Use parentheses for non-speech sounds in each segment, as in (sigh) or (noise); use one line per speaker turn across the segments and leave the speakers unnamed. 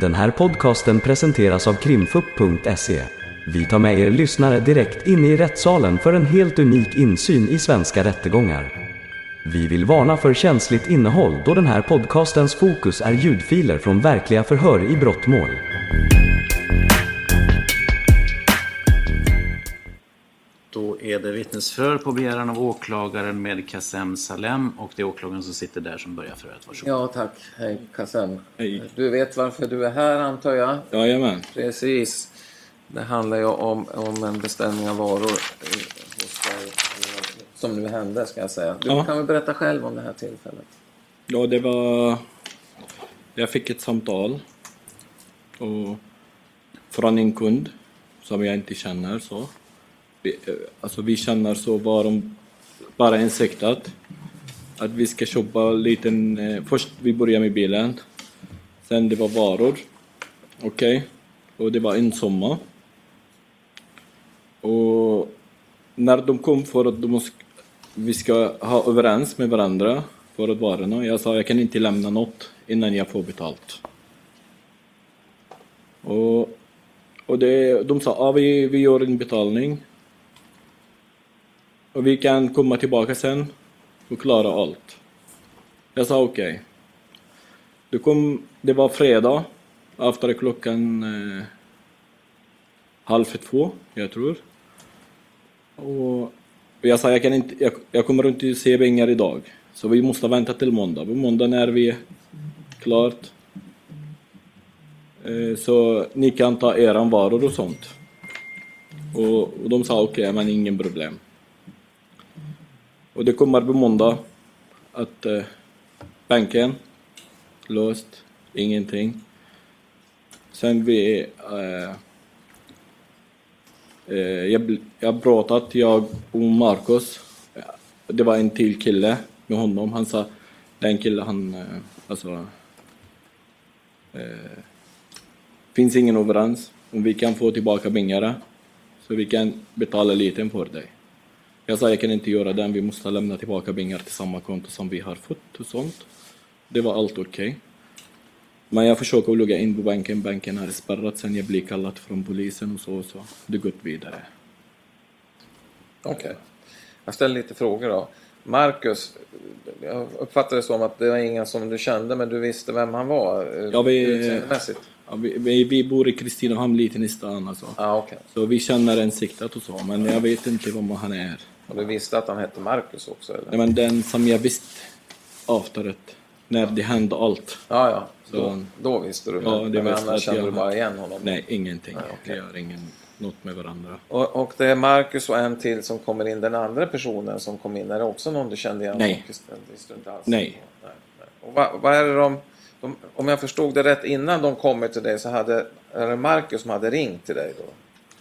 Den här podcasten presenteras av krimfupp.se. Vi tar med er lyssnare direkt in i rättssalen för en helt unik insyn i svenska rättegångar. Vi vill varna för känsligt innehåll då den här podcastens fokus är ljudfiler från verkliga förhör i brottmål.
Då är det vittnesförhör på begäran av åklagaren med Kassem Salem och det är åklagaren som sitter där som börjar förhöret. Varsågod.
Ja tack, hej Kassem.
Hej.
Du vet varför du är här antar jag?
Jajamän.
Precis. Det handlar ju om, om en beställning av varor eh, hos dig, eh, som nu hände ska jag säga. Du
Ja.
kan väl berätta själv om det här tillfället?
Ja, det var... Jag fick ett samtal. Och från en kund som jag inte känner. så. Vi, eh, alltså, vi känner så var de bara insiktat att vi ska köpa liten... Eh, först vi börjar med bilen. Sen det var varor. Okej. Och det var en summa. Och när de kom för att de måste, vi ska ha överens med varandra för att varorna. Jag sa jag kan inte lämna något innan jag får betalt. Och, och det, de sa ja, vi, vi gör en betalning. Och vi kan komma tillbaka sen och klara allt. Jag sa okej. Det, kom, det var fredag efter klockan eh, halv två, jag tror. Och jag sa, jag, kan inte, jag, jag kommer inte se pengar idag. Så vi måste vänta till måndag. På måndag när vi är klart. Eh, Så ni kan ta eran varor och sånt. Och, och de sa okej, men ingen problem. Och det kommer på måndag att eh, banken låst, ingenting. Sen vi eh, Eh, jag, bl- jag pratat, jag och Marcus. eh, Det var en till kille med honom. Han sa, den killen han, eh, alltså... Eh, finns ingen överens. Om vi kan få tillbaka pengarna så vi kan betala lite för dig. Jag sa, jag kan inte göra den. Vi måste lämna tillbaka pengar till samma konto som vi har fått och sånt. Det var allt okej. Men jag försöker att logga in på banken, banken har spärrat sen jag blir kallad från polisen och så och så. Det gått vidare.
Okej. Jag ställer lite frågor då. Marcus, jag uppfattade det som att det var ingen som du kände men du visste vem han var eh,
Ja, vi-
utseendemässigt?
Ja, vi, vi, vi bor i Kristinehamn, liten i stan alltså.
Ja, ah, okej.
Så vi känner en siktat och så, men jag vet inte vem han är.
Och du visste att han hette Marcus också eller?
Nej, men den som jag visste efteråt, när det hände allt.
Ja, ja.
Så
Då,
han-
då visste du.
Ja,
men-
det
men
visste
annars
att jag
kände du bara
hade-
igen honom.
Nej, ingenting.
Nej, okej.
Det gör ingen, något med varandra.
Och, och det är Marcus och en till som kommer in. Den andra personen som kom in, är det också någon du kände igen?
Nej.
Det visste du inte alls.
Nej.
nej, nej. Och vad, vad är det de, de... Om jag förstod det rätt, innan de kommer till dig så hade... Är det Marcus som hade ringt till dig då?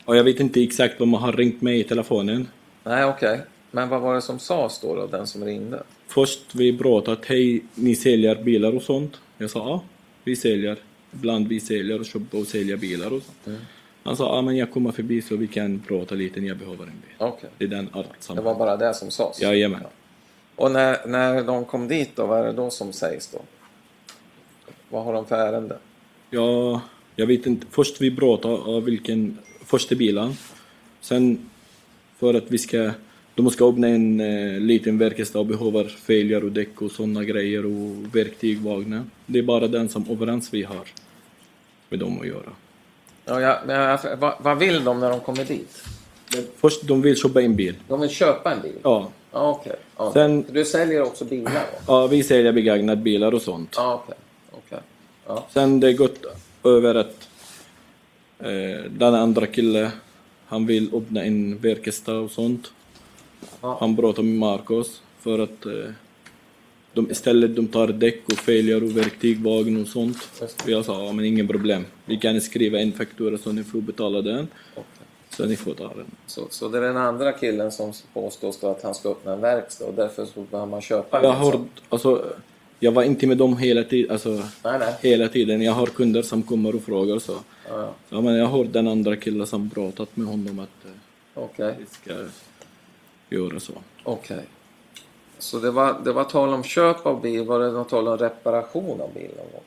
Och jag vet inte exakt vem har ringt mig i telefonen.
Nej, okej. Men vad var det som sades då, då den som ringde?
Först vi pratat, hej ni säljer bilar och sånt. Jag sa ja, vi säljer. Ibland vi säljer och köper och säljer bilar och sånt.
Mm.
Han sa ja men jag kommer förbi så vi kan prata lite när jag behöver en bil.
Okej.
Det är den art som...
Det var bara det som sades?
Jajamän.
Och när, när de kom dit då, vad är det då som sägs då? Vad har de för ärende?
Ja, jag vet inte. Först vi pratade om vilken första bilen. Sen för att vi ska... De ska öppna en eh, liten verkstad och behöver fälgar och däck och sådana grejer och verktyg, vagnar. Det är bara den som överens vi har med dem att göra.
Ja, jag, men jag, vad, vad vill de när de kommer dit?
Först de vill köpa en bil.
De vill köpa en bil?
Ja,
Ja, okej. Ja.
Sen-
Du säljer också bilar då?
ja vi säljer begagnade bilar och sånt.
Ja, okej. okej. Ja.
Sen det gått över att eh, den andra killen, han vill öppna en verkstad och sånt.
Ja.
Han pratar med Marcos för att eh, de istället de tar däck och fälgar och verktyg, vagn och sånt.
Just
Och jag sa, ja men ingen problem. Vi kan skriva en faktura så ni får betala den. Så ni får ta den.
Så, så det är den andra killen som påstås då att han ska öppna en verkstad och därför så behöver man köpa en liksom.
Jag
bil.
har, alltså, jag var inte med dem hela tiden, alltså,
Nej, nej.
hela tiden. Jag har kunder som kommer och frågar så.
Ja, ja.
Ja, men jag har den andra killen som pratat med honom att eh,
Okej.
vi ska göra så.
okej. Så det var, det var tal om köp av bil, var det något tal om reparation av bilen? Då?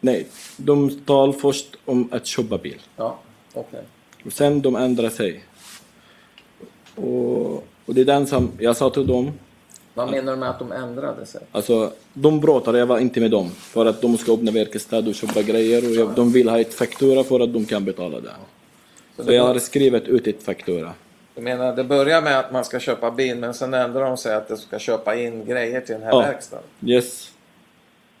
Nej, de tal först om att köpa bil.
Ja, okej.
Och sen de ändrar sig. Och, och det är den som, jag sa till dem,
Vad menar du med att de ändrade sig?
alltså de pratade, jag var inte med dem. För att de ska öppna verkstad och köpa grejer och jag, de vill ha ett faktura för att de kan betala det. Så jag har skrivit ut ett faktura.
Du menar, det börjar med att man ska köpa bil, men sen ändrar de sig att de ska köpa in grejer till den här
Ja.
verkstaden.
Yes.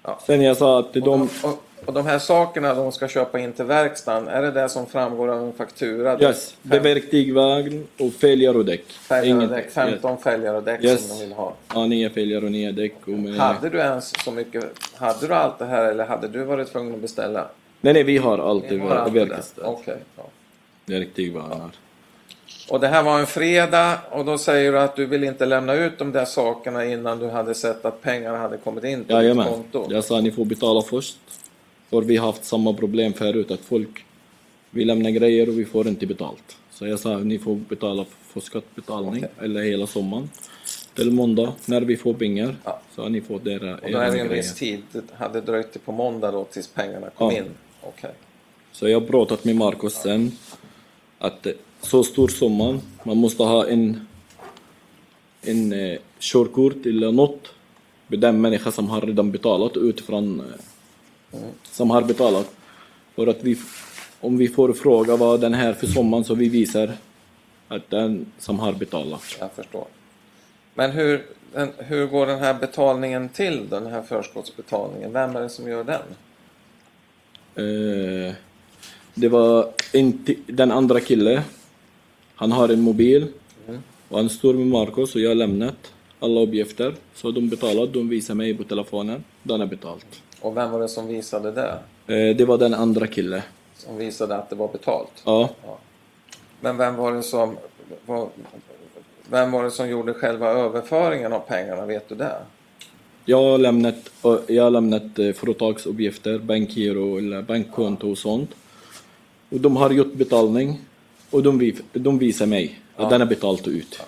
Ja.
Sen jag sa att
Och,
de...
och, och de här sakerna de ska köpa in till verkstaden, är det det som framgår av en faktura?
Yes, det är
Fem,
verktygsvagn och fälgar och däck.
fälgar och
Inget-
däck, 15 fälgar och däck
Yes. Mm.
som de vill ha.
Ja, nya fälgar och nya däck. Och med...
Hade du ens så mycket? Hade du allt det här eller hade du varit tvungen att beställa?
Nej, nej, vi har alltid
Har allt det där?
verkstad.
Okej, ja.
Verktygsvagnar.
Och det här var en fredag och då säger du att du vill inte lämna ut de där sakerna innan du hade sett att pengarna hade kommit in på ditt
Jajamän.
konto.
Jag sa ni får betala först. För vi har haft samma problem förut, att folk vi lämnar grejer och vi får inte betalt. Så jag sa ni får betala för skattbetalning, eller hela summan. Till måndag, när vi får pengar,
Ja.
så ni får era,
Och då är
era
det en
grejer.
viss tid. Det hade dröjt till på måndag då tills pengarna kom
Ja.
in. Okej.
Så jag har pratat med Marcos sen att eh, så stor summa, man måste ha en, en eh, körkort eller något med den människa som har redan betalat utifrån eh, som har betalat. För att vi, f- om vi får fråga vad den här för summan så vi visar att den som har betalat.
Jag förstår. Men hur, den, hur går den här betalningen till, den här förskottsbetalningen? Vem är det som gör den?
Eh, det var inte, den andra killen. Han har en mobil. Och han står med Marcos och jag har lämnat alla uppgifter. Så de betalat, de visar mig på telefonen. Den är betalt.
Och vem var det som visade det?
Eh, det var den andra killen.
Som visade att det var betalt?
Ja.
Men vem var det som, var, vem var det som gjorde själva överföringen av pengarna? Vet du det?
Jag har lämnat, och jag har lämnat eh, företagsuppgifter, bankgiro eller bankkonto och sånt. Och de har gjort betalning. Och de, vi- de visar mig att den är betalt ut.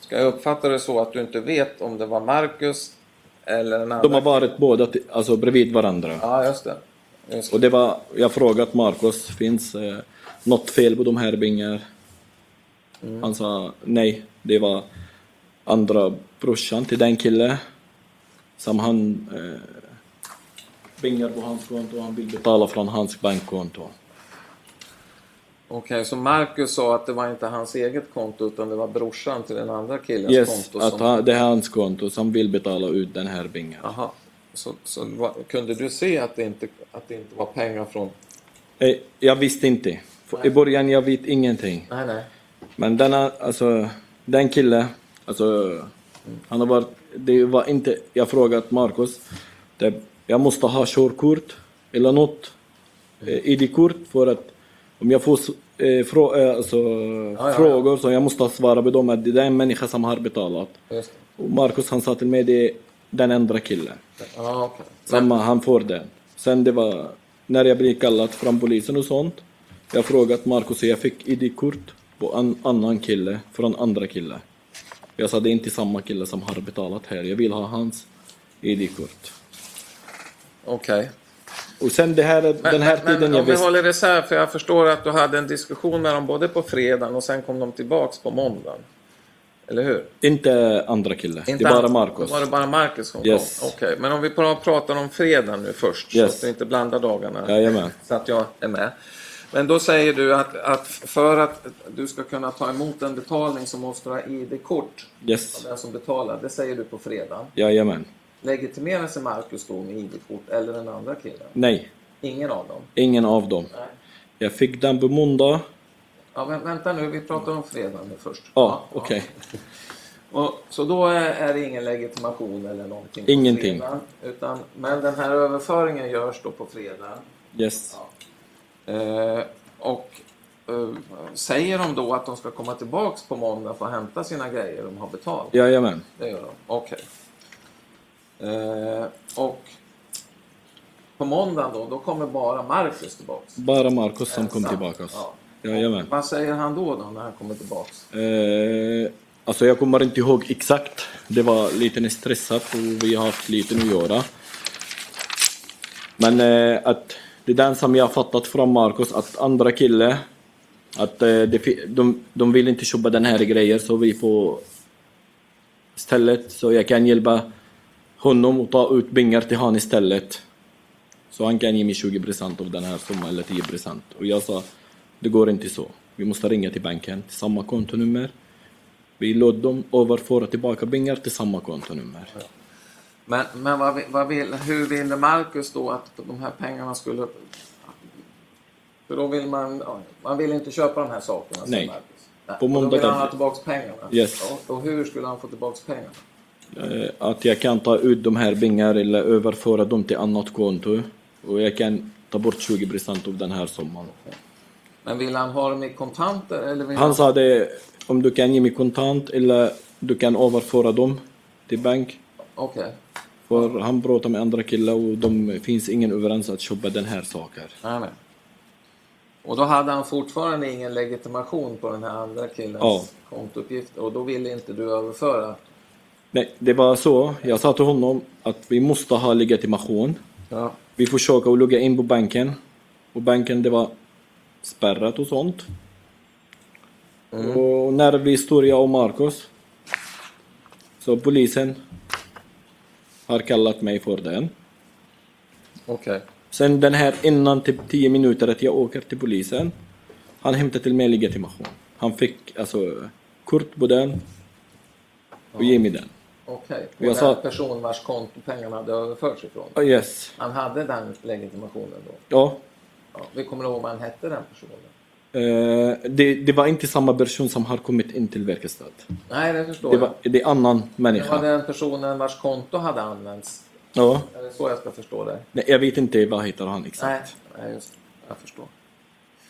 Ska jag uppfatta det så att du inte vet om det var Marcus eller en annan?
De har varit båda till- alltså, bredvid varandra.
Ja, just det. Just det.
Och det var, jag frågat Marcos, finns eh, något fel på de här bingar? Han sa nej, det var andra brorsan till den kille som han eh, bingar på hans konto och han vill betala från hans bankkonto.
Okej, så Marcus sa att det var inte hans eget konto utan det var brorsan till den andra killens
Yes,
konto?
att han, det är hans konto som vill betala ut den här bingar.
Aha. Så, så va- kunde du se att det, inte, att det inte var pengar från...
Eh, Jag visste inte. För I början jag vet ingenting.
Nej, nej.
Men denna, alltså, den killen, alltså, han har varit, det var inte, jag frågat Marcus, det, jag måste ha körkort eller något, eh, ID-kort för att om jag får s- eh, frå, eh, alltså,
ja, ja.
frågor så jag måste svara på dem att det är en människa som har betalat.
Just
Och Marcus han sa till mig, det är den andra killen.
det. Ja, okej.
Samma, han får den. Sen det var när jag blev kallad från polisen och sånt. Jag frågat Marcus och jag fick ID-kort på en annan kille, från andra kille. Jag sa det är inte samma kille som har betalat här, jag vill ha hans ID-kort.
Okej.
Och sen det här, den här
men,
tiden
men,
jag
om vi
visste...
håller isär, för jag förstår att du hade en diskussion med dem både på fredagen och sen kom de tillbaks på måndagen. Eller hur?
Inte andra kille, det
Inte
är bara
han-
Marcus.
Var det bara Marcus som
Yes.
kom? Okej, men om vi pra- pratar om fredagen nu först, så
Yes.
att du inte blandar dagarna.
Jajamän.
Så att jag är med. Men då säger du att, att för att du ska kunna ta emot en betalning så måste du ha ID-kort av
Yes,
den som betalar. Det säger du på fredagen.
jajamän.
Legitimerar sig Marcus då med ID-kort eller den andra killen?
Nej,
Ingen av dem?
ingen av dem.
Nej.
Jag fick den på måndag.
Ja, vä- vänta nu, vi pratar om fredagen nu först.
Ja, Ah, okej.
Och, så då är, är det ingen legitimation eller någonting? på
Ingenting.
Fredagen, utan, men den här överföringen görs då på fredag.
Yes.
Eh, och eh, säger de då att de ska komma tillbaks på måndag för att hämta sina grejer de har betalt?
Jajamän.
Det gör de. Okej. Eh, och på måndag då, då kommer bara Marcus tillbaks?
Bara Marcus som kom
Ensam.
tillbaka.
Ja.
Jajamän.
Vad säger han då, då när han kommer tillbaks?
Eh, alltså jag kommer inte ihåg exakt. Det var lite stressat och vi har haft lite att göra. Men eh, att det är den som jag har fattat från Marcus, att andra kille, att eh, det, fi- de, de vill inte köpa den här grejen så vi får stället så jag kan hjälpa honom att ta ut pengar till han istället. Så han kan ge mig 20% av den här summan eller 10% och jag sa det går inte så. Vi måste ringa till banken till samma kontonummer. Vi låter dem överföra tillbaka pengar till samma kontonummer.
Men, men vad, vi- vad vill, hur ville Marcus då att de här pengarna skulle... För då vill man... ja, Man vill inte köpa de här sakerna. sa
Nej.
Marcus. Nej.
På
På måndag
måndag
då vill han
kanske.
ha tillbaka pengarna.
Yes.
Ja, och hur skulle han få tillbaka pengarna?
Eh, att jag kan ta ut de här pengar eller överföra dem till annat konto och jag kan ta bort 20% av den här summan.
Men vill han ha dem i kontanter eller vill
Han sa det, om du kan ge mig kontant eller du kan överföra dem till bank.
Okej.
För han pratar med andra killar och de finns ingen överens att köpa den här saker.
Nej, nej. Och då hade han fortfarande ingen legitimation på den här andra killens
Ja.
kontouppgift och då ville inte du överföra.
Nej, det var så. Jag sa till honom att vi måste ha legitimation.
Ja.
Vi försöker att logga in på banken och banken det var spärrat och sånt. Och när vi stod jag och Marcus så polisen har kallat mig för den.
Okej.
Sen den här innan typ 10 minuter att jag åker till polisen. Han hämtade till mig legitimation. Han fick alltså kort på den och ge mig den.
Okej. Och
Jag
den
sa-
person vars konto pengarna hade överförts ifrån.
Ah, yes.
Han hade den legitimationen då.
Ja,
Ja. Vi kommer ihåg vad han hette den personen.
Eh, det, det var inte samma person som har kommit in till verkstad.
Nej, det förstår
Det, var,
jag.
det är annan
Det var
människa.
den personen vars konto hade använts.
Ja.
Är det så jag ska förstå det?
Nej, jag vet inte vad heter han
Nej,
exakt.
nej just det. Jag förstår.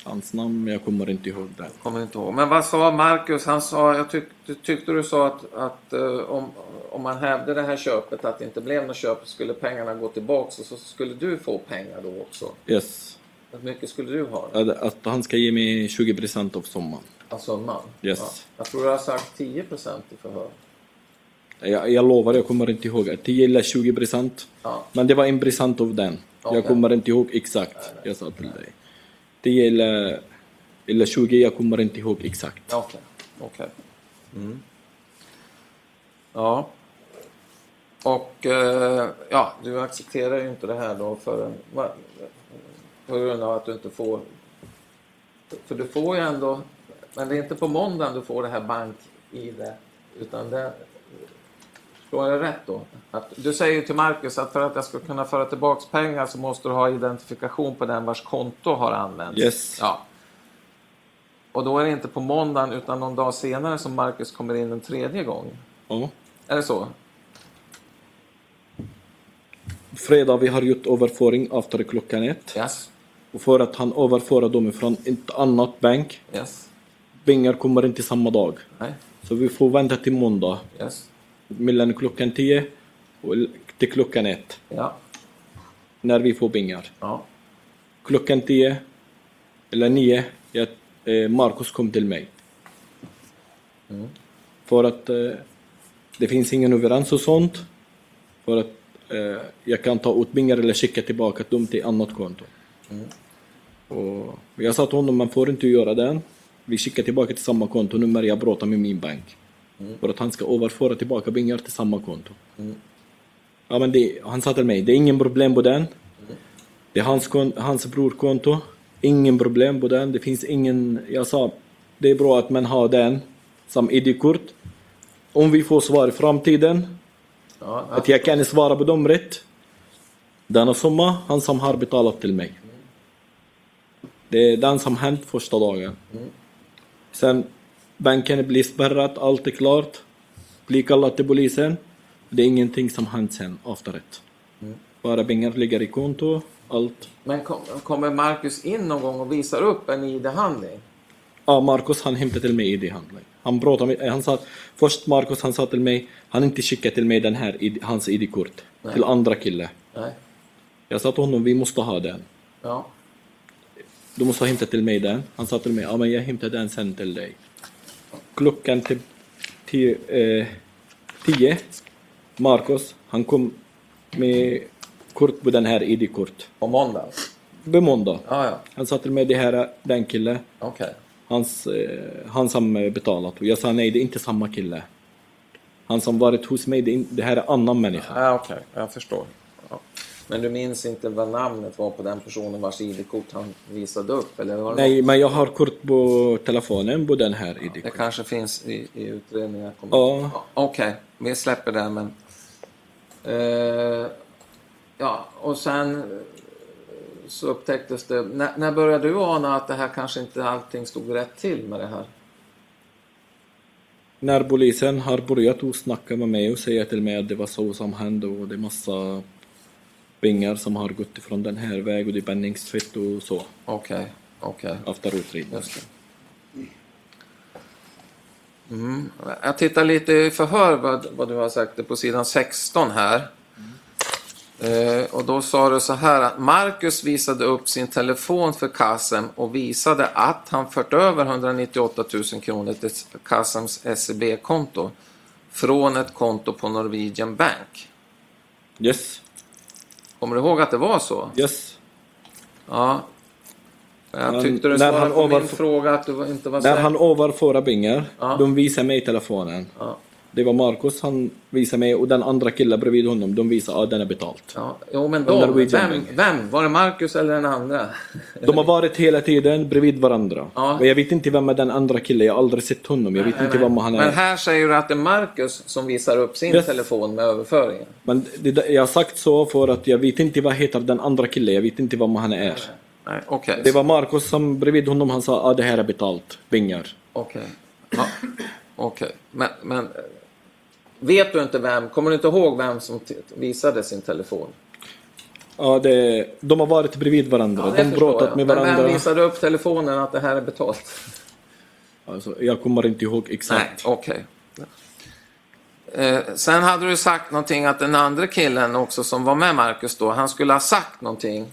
Hans namn, jag kommer inte ihåg det.
Kommer inte ihåg. Men vad sa Marcus? Han sa, jag tyck, tyckte du sa att, att eh, om, om man hävde det här köpet, att det inte blev något köp, skulle pengarna gå tillbaks och så skulle du få pengar då också.
Yes.
Hur mycket skulle du ha?
Att, att han ska ge mig 20% av summan.
Av summan?
Yes.
Jag tror du har sagt 10% i förhör.
Jag, jag lovar, jag kommer inte ihåg. 10 eller 20%.
Ja.
Men det var en procent av den.
Okej.
Jag kommer inte ihåg exakt. Jag sa till dig. 10 eller, eller 20, jag kommer inte ihåg exakt.
Ja, Okej. Okay. Ja. Och eh, ja, du accepterar ju inte det här då förrän, va- på grund av att du inte får... För du får ju ändå... Men det är inte på måndagen du får det här bank-id. Utan det... Förstår jag rätt då? Att, du säger ju till Marcus att för att jag ska kunna föra tillbaka pengar så måste du ha identifikation på den vars konto har använts.
Yes.
Ja. Och då är det inte på måndagen utan någon dag senare som Marcus kommer in en tredje gång.
Ja.
Är det så?
Fredag vi har gjort överföring efter klockan ett.
Yes.
Och för att han överförde dem från ett annat bank.
Yes.
Pengar kommer inte samma dag.
Nej.
Så vi får vänta till måndag.
Yes.
Mellan klockan 10 och till klockan 1.
Ja.
När vi får pengar.
Ja.
Klockan 10 eller 9. Jag, eh, Marcus kom till mig. För att eh, det finns ingen överens och sånt. För att eh, jag kan ta ut pengar eller skicka tillbaka dem till annat konto. Och jag sa till honom, man får inte göra den. Vi skickar tillbaka till samma kontonummer, jag pratar med min bank. För att han ska överföra tillbaka pengar till samma konto. Ja, men det, han sa till mig, det är ingen problem på den. Det är hans, kon, hans brorkonto. Ingen problem på den. Det finns ingen... Jag sa, det är bra att man har den som ID-kort. Om vi får svar i framtiden,
Ja.
att jag kan svara på dem rätt. Denna summa, han som har betalat till mig. Det är den som hänt första dagen. Sen banken blir spärrad, allt är klart. Blir kallad till polisen. Det är ingenting som hänt sen, efterrätt. Bara pengar ligger i konto, allt.
Men kom, kommer Marcus in någon gång och visar upp en ID-handling?
Ja, Marcus han hämtade till mig ID-handling. Han pratade med, han sa, först Marcus han sa till mig, han inte skickat till mig den här, ID, hans ID-kort. Till andra kille.
Nej.
Jag sa till honom, vi måste ha den.
Ja.
Du måste hämta till mig den. Han sa till mig, ja men jag hämtar den sen till dig. Klockan typ tio, eh, tio Marcus, han kom med kort på den här ID-kort.
På måndag?
På måndag.
Ja, ja.
Han sa till mig det här, den kille,
Okej.
hans, eh, han som eh, betalat. Och jag sa nej, det är inte samma kille. Han som varit hos mig, det, är in- det här är annan människa.
Ja, okej. Jag förstår. Ja. Men du minns inte vad namnet var på den personen vars ID-kort han visade upp? Eller var det
Nej, men jag har kort på telefonen på den här
Det
ID-kortet.
kanske finns i, i utredningar.
Ja.
Okej, vi släpper det. Men, eh, ja, och sen eh, så upptäcktes det. När, när började du ana att det här kanske inte allting stod rätt till med det här?
När polisen har börjat att snacka med mig och säga till mig att det var så som hände och det är massa pengar som har gått ifrån den här vägen och det är penningstvätt och så.
Okej, okej.
Efter utredningen.
Just det. Mm. Jag tittar lite i förhör vad, vad du har sagt det är på sidan 16 här. Eh, och då sa du så här att Marcus visade upp sin telefon för Kassem och visade att han fört över 198 000 kronor till Kassems SEB-konto från ett konto på Norwegian Bank.
Yes,
Kommer du ihåg att det var så?
yes.
Ja. Jag
Men
tyckte du
när
svarade
han
på min
ovanför-
fråga att du inte var
När
säker.
han överförde pengar,
Ja.
de visade mig telefonen.
Ja.
Det var Marcus han visade mig och den andra killen bredvid honom, de visade att den är betalt.
Ja, jo men
Under
de,
Norwegian
vem,
Bank.
vem? Var det Marcus eller den andra?
De har varit hela tiden bredvid varandra.
Ja.
Men jag vet inte vem är den andra killen, jag har aldrig sett honom. Jag vet inte vem han är.
Men här säger du att det är Marcus som visar upp sin
Yes.
telefon med överföringen.
Men det, det- jag har sagt så för att jag vet inte vad heter den andra killen, jag vet inte vad han är.
Nej, okej.
Det var Marcus som bredvid honom, han sa att ah, det här är betalt, pengar.
Okej. Ja, okej. Men, men eh, vet du inte vem? Kommer du inte ihåg vem som t- visade sin telefon?
Ja, det, de har varit bredvid varandra,
det
de
förstår
pratat
jag.
med
Men
varandra.
vem visade upp telefonen att det här är betalt?
Alltså, jag kommer inte ihåg
Nej,
exakt.
okej. Eh, sen hade du sagt någonting att den andra killen också som var med Marcus då, han skulle ha sagt någonting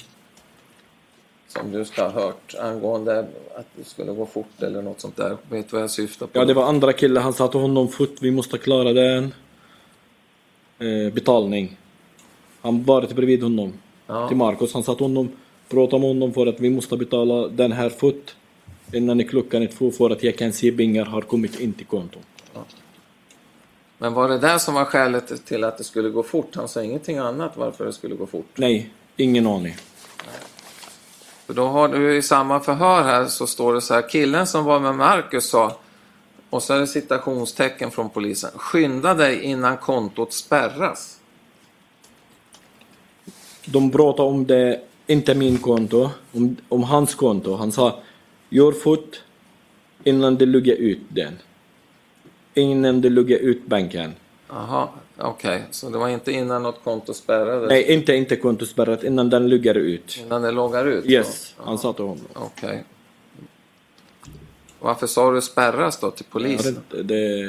som du ska ha hört angående att det skulle gå fort eller något sånt där. Vet du vad jag syftar på?
Ja, det var andra killen, han sa till honom fort, vi måste klara den. Eh, betalning. Han varit bredvid honom,
Ja.
till Marcus. Han sa till honom, prata med honom för att vi måste betala den här fort innan klockan är två för att jag kan se pengar har kommit in till kontot.
Men var det där som var skälet till att det skulle gå fort? Han sa ingenting annat varför det skulle gå fort.
Nej, ingen aning.
För då har du i samma förhör här så står det så här, killen som var med Marcus sa, och så är det citationstecken från polisen, skynda dig innan kontot spärras.
De pratade om det, inte min konto, om, om hans konto. Han sa gör fort innan du luggar ut den. Innan du luggar ut banken.
Jaha, okej. Så det var inte innan något konto spärrades?
Nej, inte, inte kontospärrat, innan den luggar ut.
Innan det loggar ut? då?
Yes, han sa till honom.
Okej. Varför sa du spärras då till
Jag,
polisen?
vet inte, det,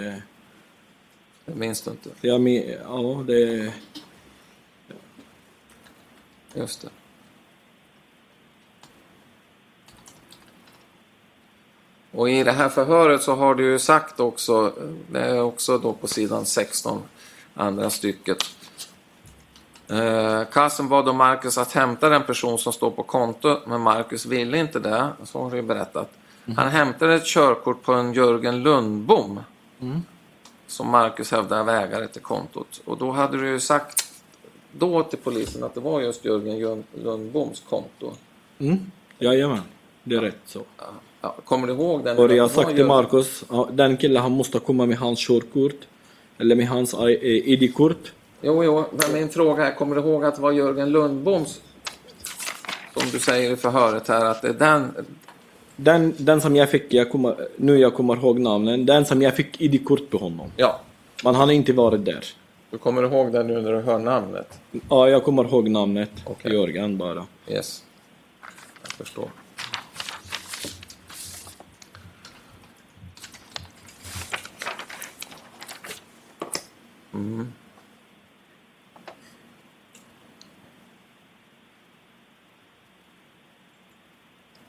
Det minns du inte.
jag, men- ja, det,
Just det. Och i det här förhöret så har du ju sagt också, det är också då på sidan 16, andra stycket. Eh, Kassem bad då Marcus att hämta den person som står på kontot, men Marcus ville inte det. Så har du ju berättat. Han hämtade ett körkort på en Jörgen Lundbom. Som Marcus hävdar vägrade till kontot. Och då hade du ju sagt då till polisen att det var just Jörgen Jön- Lundboms konto.
mm, jajamän, det är rätt så.
Ja, kommer du ihåg den?
Och
Det
jag
var
har sagt till
Jörgen-
Marcus, ja, den killen han måste komma med hans körkort, eller med hans eh, ID-kort.
Jo, jo, men min fråga är, kommer du ihåg att det var Jörgen Lundboms, som du säger i förhöret här, att det är den...
Den, den som jag fick, jag kommer, nu jag kommer ihåg namnen, den som jag fick ID-kort på honom.
Ja,
Men han har inte varit där.
du kommer ihåg den nu när du hör namnet?
Ja, jag kommer ihåg namnet,
Okej.
Jörgen bara.
Yes. Jag förstår. Mm.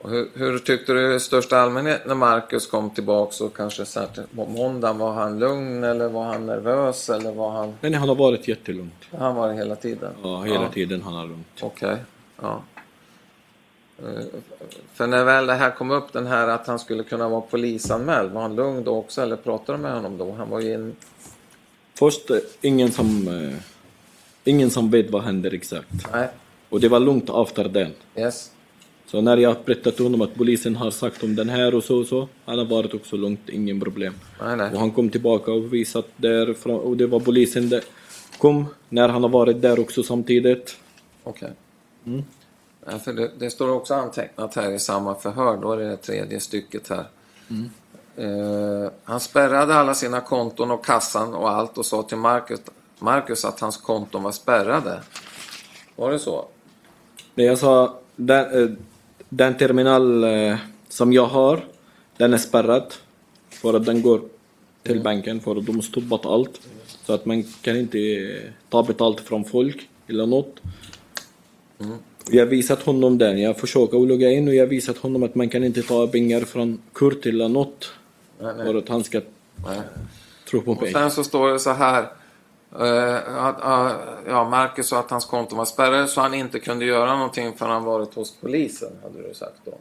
Och hur, hur tyckte du i största allmänhet när Marcus kom tillbaka och kanske särskilt på måndagen? Var han lugn eller var han nervös eller var han...
Men han har varit jättelugnt.
Han var det hela tiden?
Ja, hela tiden han har lugnt.
Okej, ja. Eh, För när väl det här kom upp, den här att han skulle kunna vara polisanmäld, var han lugn då också eller pratade de med honom då? Han var ju in...
Först, eh, ingen som... Eh, ingen som vet vad händer exakt.
Nej,
Och det var lugnt efter den.
yes.
Så när jag berättat till honom att polisen har sagt om den här och så och så, han har varit också lugnt, ingen problem.
Nej,
Och
nej.
han kom tillbaka och visat därifrån, och det var polisen där. Kom, när han har varit där också samtidigt.
Okej. Ja, för det, det står också antecknat här i samma förhör, då är det det tredje stycket här. Eh, han spärrade alla sina konton och kassan och allt och sa till Marcus, Marcus att hans konton var spärrade. Var det så?
När jag sa, den, eh, den terminal eh, som jag har, den är spärrad. För att den går till banken, för att de har stoppat allt. Så att man kan inte eh, ta betalt från folk eller något.
Mm.
Jag har visat honom den, jag försöker att logga in och jag har visat honom att man kan inte ta pengar från Kurt eller något.
Nej, nej.
För att han ska tro på
Och
mig.
sen så står det så här. eh, att, eh, ja, Marcus sa att hans konto var spärrade så han inte kunde göra någonting förrän han varit hos polisen, hade du sagt då.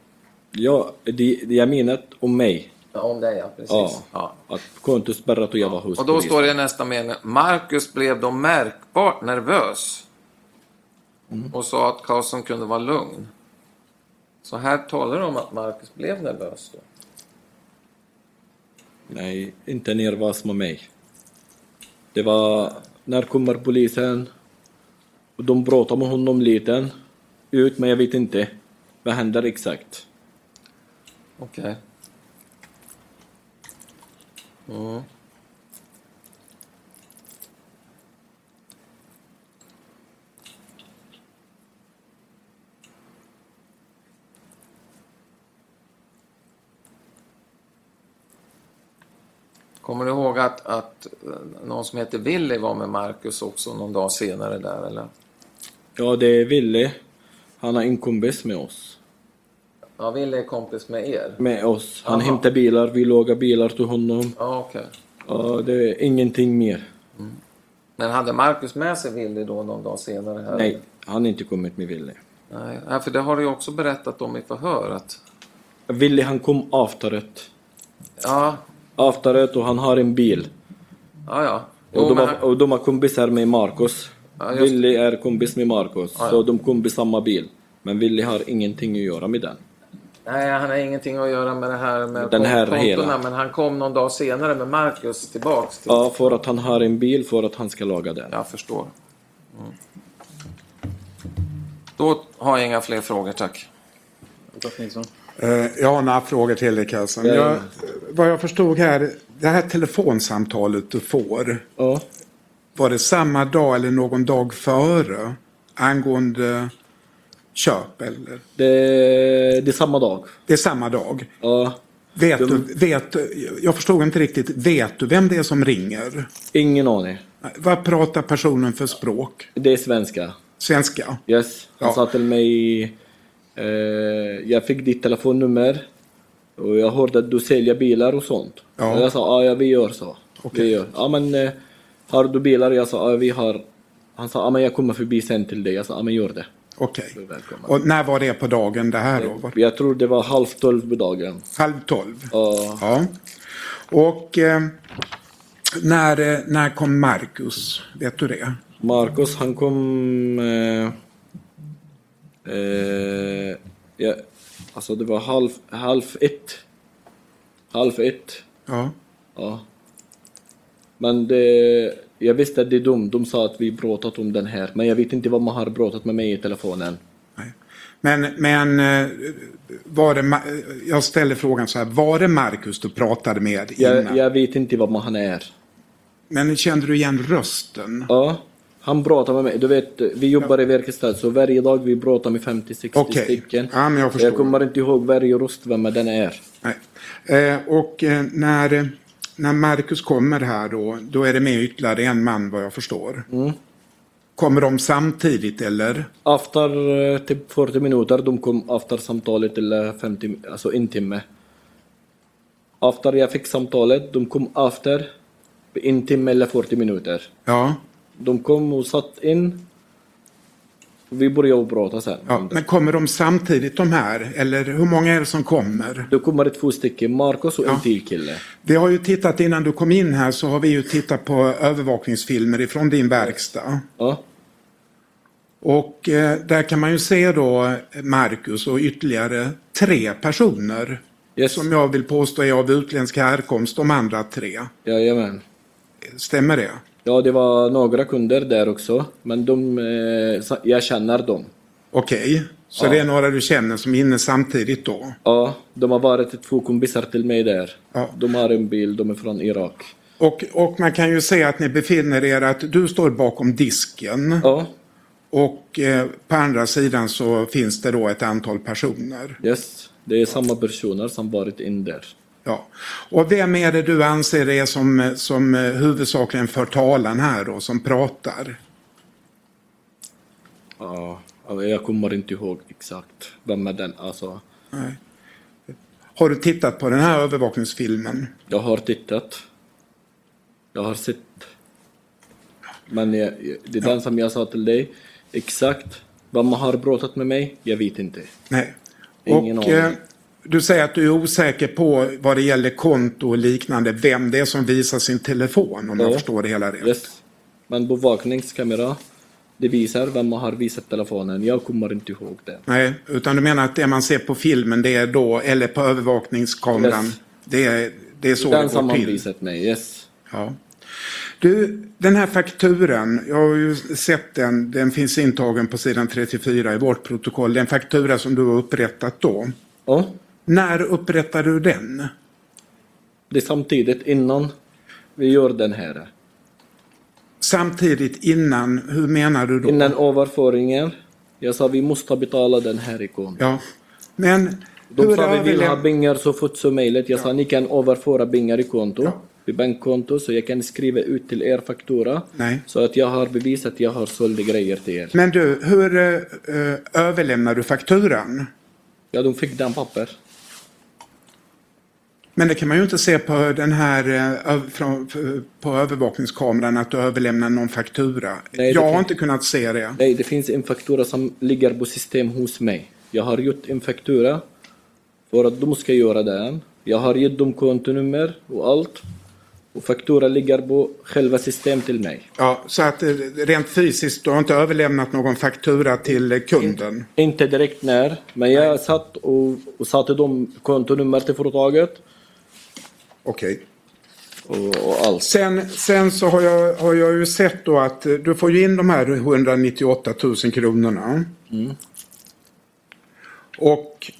Ja, det, det jag menat om mig.
Ja, om dig, ja. Precis.
Ja.
Ja.
Att kontot spärrat och jag var hos
Och då
polisen.
står det i nästa mening. Marcus blev då märkbart nervös. Och sa att Karlsson kunde vara lugn. Så här talar de om att Marcus blev nervös då.
Nej, inte nervös med mig. Det var, när kommer polisen? Och de pratar med honom lite. Ut, men jag vet inte. Vad händer exakt?
Okej. Mm. Kommer du ihåg att, att eh, någon som heter Willy var med Marcus också någon dag senare där eller?
Ja, det är Ville. Han har en kompis med oss.
Ja, Willy är kompis med er.
Med oss. Han
Aha.
hämtar bilar, vi lagar bilar till honom.
Ja, okej.
Ja, det är ingenting mer.
Men hade Marcus med sig Willy då någon dag senare? Här?
Nej, han har inte kommit med Ville.
Nej, nej, för det har du ju också berättat om i förhör. Att,
Ville, han kom afterrätt.
ja,
Afterrätt och han har en bil.
ja, ja.
Och
Jo,
de,
men,
har, och de har kompisar med Marcus.
Ja, just det.
Willy är kompis med Marcus,
Ja, ja.
så de kom i samma bil. Men Willy har ingenting att göra med den.
nej, han har ingenting att göra med det här med
Den här
kontona,
hela.
men han kom någon dag senare med Marcus tillbaks. Till,
Ja, för att han har en bil för att han ska laga den.
Jag förstår. Mm. Då har jag inga fler frågor, tack.
Olof Nilsson.
Eh, Jag har några frågor till dig Kassan.
Ja.
Jag, vad jag förstod här, det här telefonsamtalet du får,
Ja.
var det samma dag eller någon dag före angående köp? Eller?
Det, det är samma dag.
Det är samma dag.
Ja.
Vet du, vet, du- jag förstod inte riktigt, vet du vem det är som ringer?
Ingen aning.
Vad pratar personen för språk?
Det är svenska.
Svenska?
Yes. Han
Ja.
sa till mig... Eh, jag fick ditt telefonnummer och jag hörde att du säljer bilar och sånt.
Ja.
Och jag sa ja, ja vi gör så.
Okej.
Vi gör. Ja men eh, har du bilar? Jag sa ja vi har. Han sa ja men jag kommer förbi sen till dig. Jag sa ja men gör det.
Okej.
är välkommen.
Och när var det på dagen det här då? Var-
Jag tror det var halv tolv på dagen.
Halv tolv?
Ja,
Ja. Och eh, när, eh, när kom Marcus? Vet du det?
Marcus han kom... Eh, eh, ja, alltså det var halv, halv ett. Halv ett.
Ja.
Ja. Men det, jag visste att det är de. De sa att vi pratat om den här. Men jag vet inte vad man har pratat med mig i telefonen.
Nej. Men, men eh, var det, Ma- jag ställer frågan så här, var det Marcus du pratade med innan?
Jag, jag vet inte vad man han är.
Men kände du igen rösten?
Ja. Han pratar med mig. Du vet, vi jobbar i verkstad så varje dag vi pratar med 50-60
Okej.
stycken.
Ja, men jag förstår.
jag kommer inte ihåg varje röst vem den är.
Nej. Eh, och eh, när,
Mm.
när Marcus kommer här då, då är det med ytterligare en man vad jag förstår. Kommer de samtidigt eller?
After eh, typ 40 minuter, de kom after samtalet till eh, 50, mi- alltså en timme. After jag fick samtalet, de kom after en timme eller 40 minuter.
Ja.
De kom och satt in. Vi började prata sen.
ja. Men kommer de samtidigt de här? Eller hur många är det som kommer?
Då kommer det två stycken, Marcus och en till kille.
Vi har ju tittat innan du kom in här så har vi ju tittat på övervakningsfilmer ifrån din verkstad.
Ja.
Och eh, där kan man ju se då Marcus och ytterligare tre personer.
Yes.
Som jag vill påstå är av utländsk härkomst, de andra tre.
Jajamän.
Stämmer det?
Ja, det var några kunder där också, men de, eh, sa- jag känner dem.
Okej, så det är några du känner som är inne samtidigt då?
Ja, de har varit två kompisar till mig där.
Ja.
De har en bil, de är från Irak.
Och, och man kan ju se att ni befinner er att du står bakom disken
Ja,
och eh, på andra sidan så finns det då ett antal personer.
yes. Det är samma personer som varit in där.
Ja. Och vem är det du anser är som, som eh, huvudsakligen för talan här då, som pratar?
Ja, alltså, jag kommer inte ihåg exakt vem är den. Alltså,
Har du tittat på den här övervakningsfilmen?
jag har tittat. Jag har sett. Men jag, jag- det är den som jag sa till dig. Exakt vad man har pratat med mig, jag vet inte.
Nej.
Ingen
och
aning.
eh, du säger att du är osäker på vad det gäller konto och liknande, vem det är som visar sin telefon om jag
Ja.
förstår det hela rätt.
Yes. Men bevakningskamera, det visar vem man har visat telefonen. Jag kommer inte ihåg det.
Nej, utan du menar att det man ser på filmen, det är då, eller på övervakningskameran,
Yes.
det, är, det är så
Den
det
som
går
har
till?
visat mig, yes.
Ja. Du, den här fakturan, jag har ju sett den, den finns intagen på sidan 34 i vårt protokoll, den faktura som du har upprättat då.
Ja,
När upprättade du den?
det är samtidigt innan vi gör den här.
Samtidigt innan, hur menar du då?
Innan överföringen, jag sa vi måste betala den härifrån.
Ja, men
De
hur
sa vi vill ha
överläm-
pengar så fort som möjligt. Jag sa ni kan överföra pengar i konto,
Ja.
i bankkonto, så jag kan skriva ut till er faktura.
Nej.
Så att jag har bevis att jag har sålt grejer till er.
Men du, hur eh, eh, överlämnar du fakturan?
Ja, de fick den papper.
Men det kan man ju inte se på den här eh, ö- från, f- på övervakningskameran att du överlämnar någon faktura.
det
jag har
kan-
inte kunnat se det.
Nej, det finns en faktura som ligger på system hos mig. Jag har gjort en faktura för att de ska göra den. Jag har gett dem kontonummer och allt. Och faktura ligger på själva system till mig.
Ja, så att eh, rent fysiskt, du har inte överlämnat någon faktura till eh, kunden.
Inte direkt när, men jag satt och, och satte dem kontonummer till företaget
Okej.
och, och allt.
Sen, sen så har jag, har jag ju sett då att eh, du får ju in de här 198 000 kronorna. Och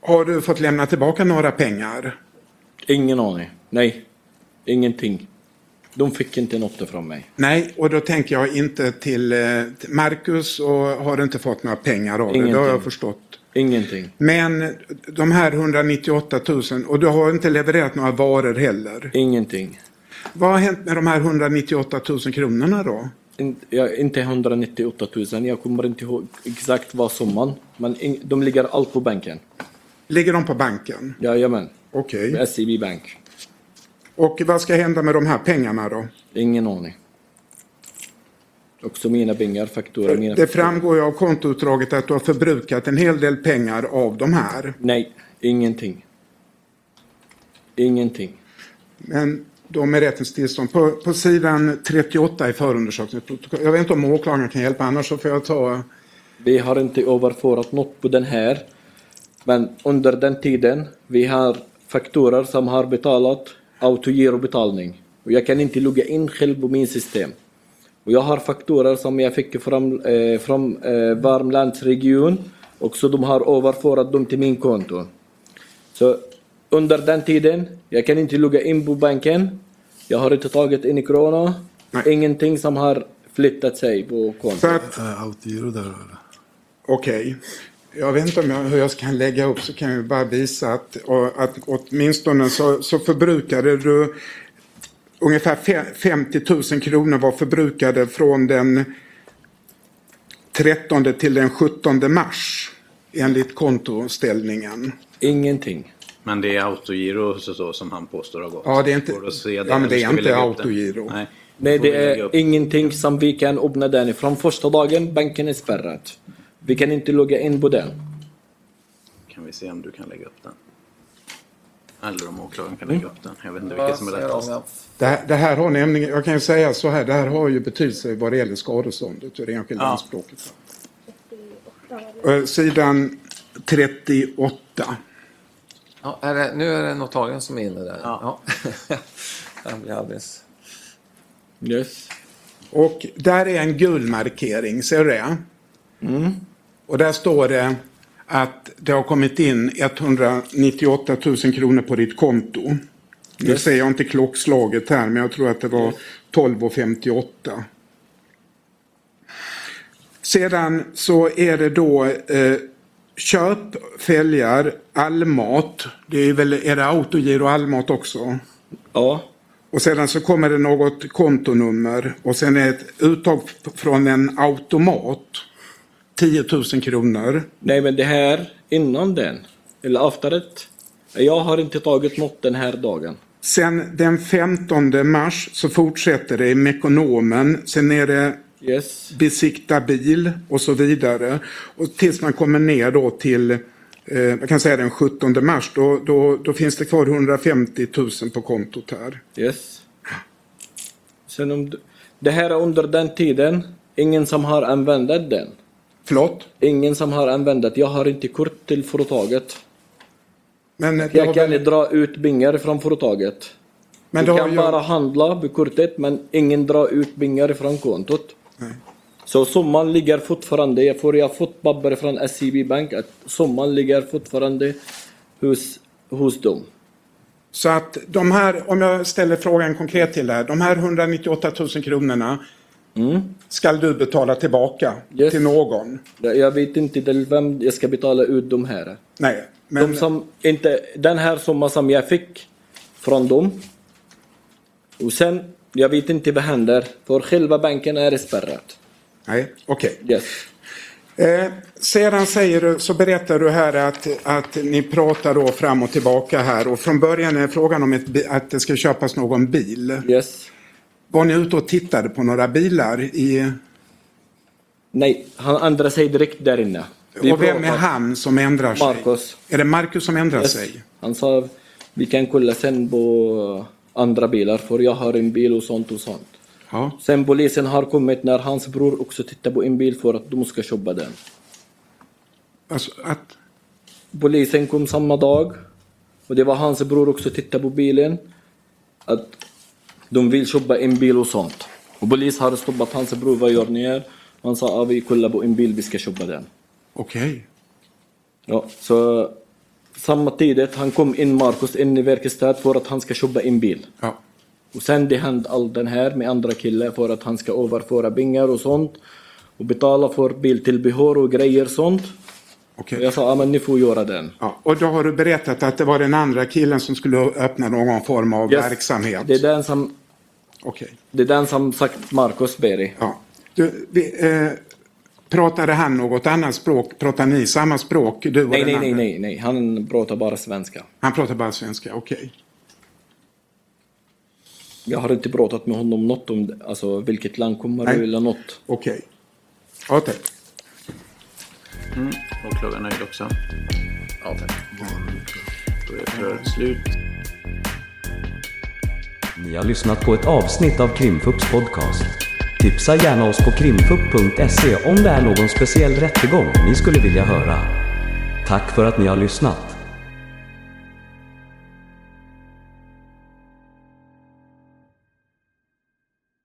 har du fått lämna tillbaka några pengar?
Ingen aning. Nej, ingenting. De fick inte något från mig.
Nej, och då tänker jag inte till eh, till Marcus och har inte fått några pengar av det. Det har
Ingenting.
jag förstått.
Ingenting.
Men de här 198 000 och du har inte levererat några varor heller.
Ingenting.
Vad har hänt med de här 198 000 kronorna då?
In, ja, inte 198 000, jag kommer inte ihåg exakt vad summan. Men in, de ligger allt på banken.
Ligger de på banken?
Jajamän.
Okej.
SEB Bank.
Och vad ska hända med de här pengarna då?
Ingen aning. Också mina pengar, faktura, mina...
Det framgår ju av kontoutdraget att du har förbrukat en hel del pengar av de här.
Nej, ingenting. Ingenting.
Men de är rättens tillstånd. På, på sidan 38 i förundersökningsprotokollet. Jag vet inte om åklagaren kan hjälpa, annars så får jag ta...
Vi har inte överförat något på den här. Men under den tiden, vi har fakturor som har betalat autogirobetalning. Och jag kan inte logga in själv på min system. Och jag har fakturor som jag fick från, eh, från eh, Värmlandsregion. Och så de har överförat dem till min konto. Så under den tiden, jag kan inte logga in på banken. Jag har inte tagit in i krona.
Nej.
Ingenting som har flyttat sig på
Så
kontot.
att,
Eh, Autogiro där eller?
okej. Jag vet inte om jag, hur jag ska lägga upp så kan jag ju bara visa att, och, att åtminstone så, så förbrukade du ungefär fe- 50 000 kronor var förbrukade från den 13 till den 17 mars enligt kontoställningen.
Ingenting.
Men det är autogiro så, så, som han påstår har gått.
Ja, det är inte-
Går att se
ja,
eller
men det är
ska vi
inte
lägga upp den?
autogiro.
Nej,
Nej,
Får vi
det
lägga upp?
är ingenting som vi kan öppna den ifrån. Första dagen, banken är spärrad. Vi kan inte logga in på den.
Kan vi se om du kan lägga upp den? Eller om åklagaren kan lägga upp den. Jag vet inte vilket som är
ser om
lättast.
jag...
Det här, det här har nämligen, jag kan ju säga så här, det här har ju betydelse vad det gäller skadeståndet ur det enskilda
Ja.
anspråket. Eh, Sidan 38.
Ja, är det, nu är det notarian som är inne där.
Ja.
Ja. (laughs) Jag blir alldeles...
Yes.
Och där är en gul markering, ser du det? Och där står det att det har kommit in 198 000 kronor på ditt konto. Nu
Yes.
säger jag inte klockslaget här, men jag tror att det var 12.58. Sedan så är det då eh, köp, fälgar, allmat. Det är väl, är det autogiro allmat också?
Ja.
Och sedan så kommer det något kontonummer och sen är ett uttag f- från en automat. 10 000 kronor.
Nej, men det här innan den. Eller efterrätt. Jag har inte tagit något den här dagen.
Sen den 15 mars så fortsätter det i Mekonomen. Sen är det
Yes.
besikta bil och så vidare. Och tills man kommer ner då till eh, jag kan säga den 17 mars då, då, då finns det kvar 150 000 på kontot här.
Yes. Sen om du... Det här är under den tiden. Ingen som har använt den.
Förlåt?
Ingen som har använt det. Jag har inte kort till företaget.
Men det har
Jag kan
väl-
dra ut bingar från företaget.
men det
du
har
kan
ju-
bara handla med kortet men ingen drar ut pengar från kontot. Så summan ligger fortfarande, jag får jag fått papper från SEB Bank att summan ligger fortfarande hos, hos dem.
Så att de här, om jag ställer frågan konkret till dig, de här 198 000 kronorna ska du betala tillbaka
Mm. Yes.
till någon?
Jag vet inte till vem jag ska betala ut de här.
Nej, men
De som inte, den här summan som jag fick från dem. Och sen, jag vet inte vad händer för själva banken är spärrad.
nej, okej.
Yes.
Eh, sedan säger du, så berättar du här att, att ni pratar då fram och tillbaka här och från början är frågan om ett, bi- att det ska köpas någon bil.
Yes.
Var ni ute och tittade på några bilar i,
Nej, han ändrar sig direkt där inne. Vi
och vem är
pratar.
han som ändrar sig?
Marcus.
Är det Marcus som ändrar
Yes.
sig?
Han sa vi kan kolla sen på andra bilar för jag har en bil och sånt och sånt.
Ja.
Sen polisen har kommit när hans bror också tittar på en bil för att de ska köpa den.
Alltså, att,
Polisen kom samma dag och det var hans bror också tittade på bilen. Att de vill köpa en bil och sånt. Och polis har stoppat hans bror, vad gör ni här? Han sa att vi kollar på en bil, vi ska köpa den.
Okej.
Ja, så samma tidigt han kom in Marcus in i verkstad för att han ska köpa en bil.
Ja.
Och sen det hände all den här med andra killar för att han ska överföra pengar och sånt. Och betala för biltillbehör och grejer sånt.
okej.
Och jag sa, ja men ni får göra den.
Ja, och då har du berättat att det var den andra killen som skulle öppna någon form av
Yes.
verksamhet.
Det är den som,
Okej.
det är den som sagt Marcus Berry.
Ja. Du, vi, eh, pratade han något annat språk? Pratade ni samma språk? Du och
Nej,
den
nej,
andra?
nej, nej, nej, han pratar bara svenska.
Han pratade bara svenska, okej.
Jag har inte pratat med honom något om det, alltså vilket land kommer
Nej.
du eller något.
Okej. Ja, tack.
Mm. Åklagaren är nöjd också.
Ja, tack.
Då är förhöret slut.
Ni har lyssnat på ett avsnitt av Krimfupps podcast. Tipsa gärna oss på krimfupp.se om det är någon speciell rättegång ni skulle vilja höra. Tack för att ni har lyssnat.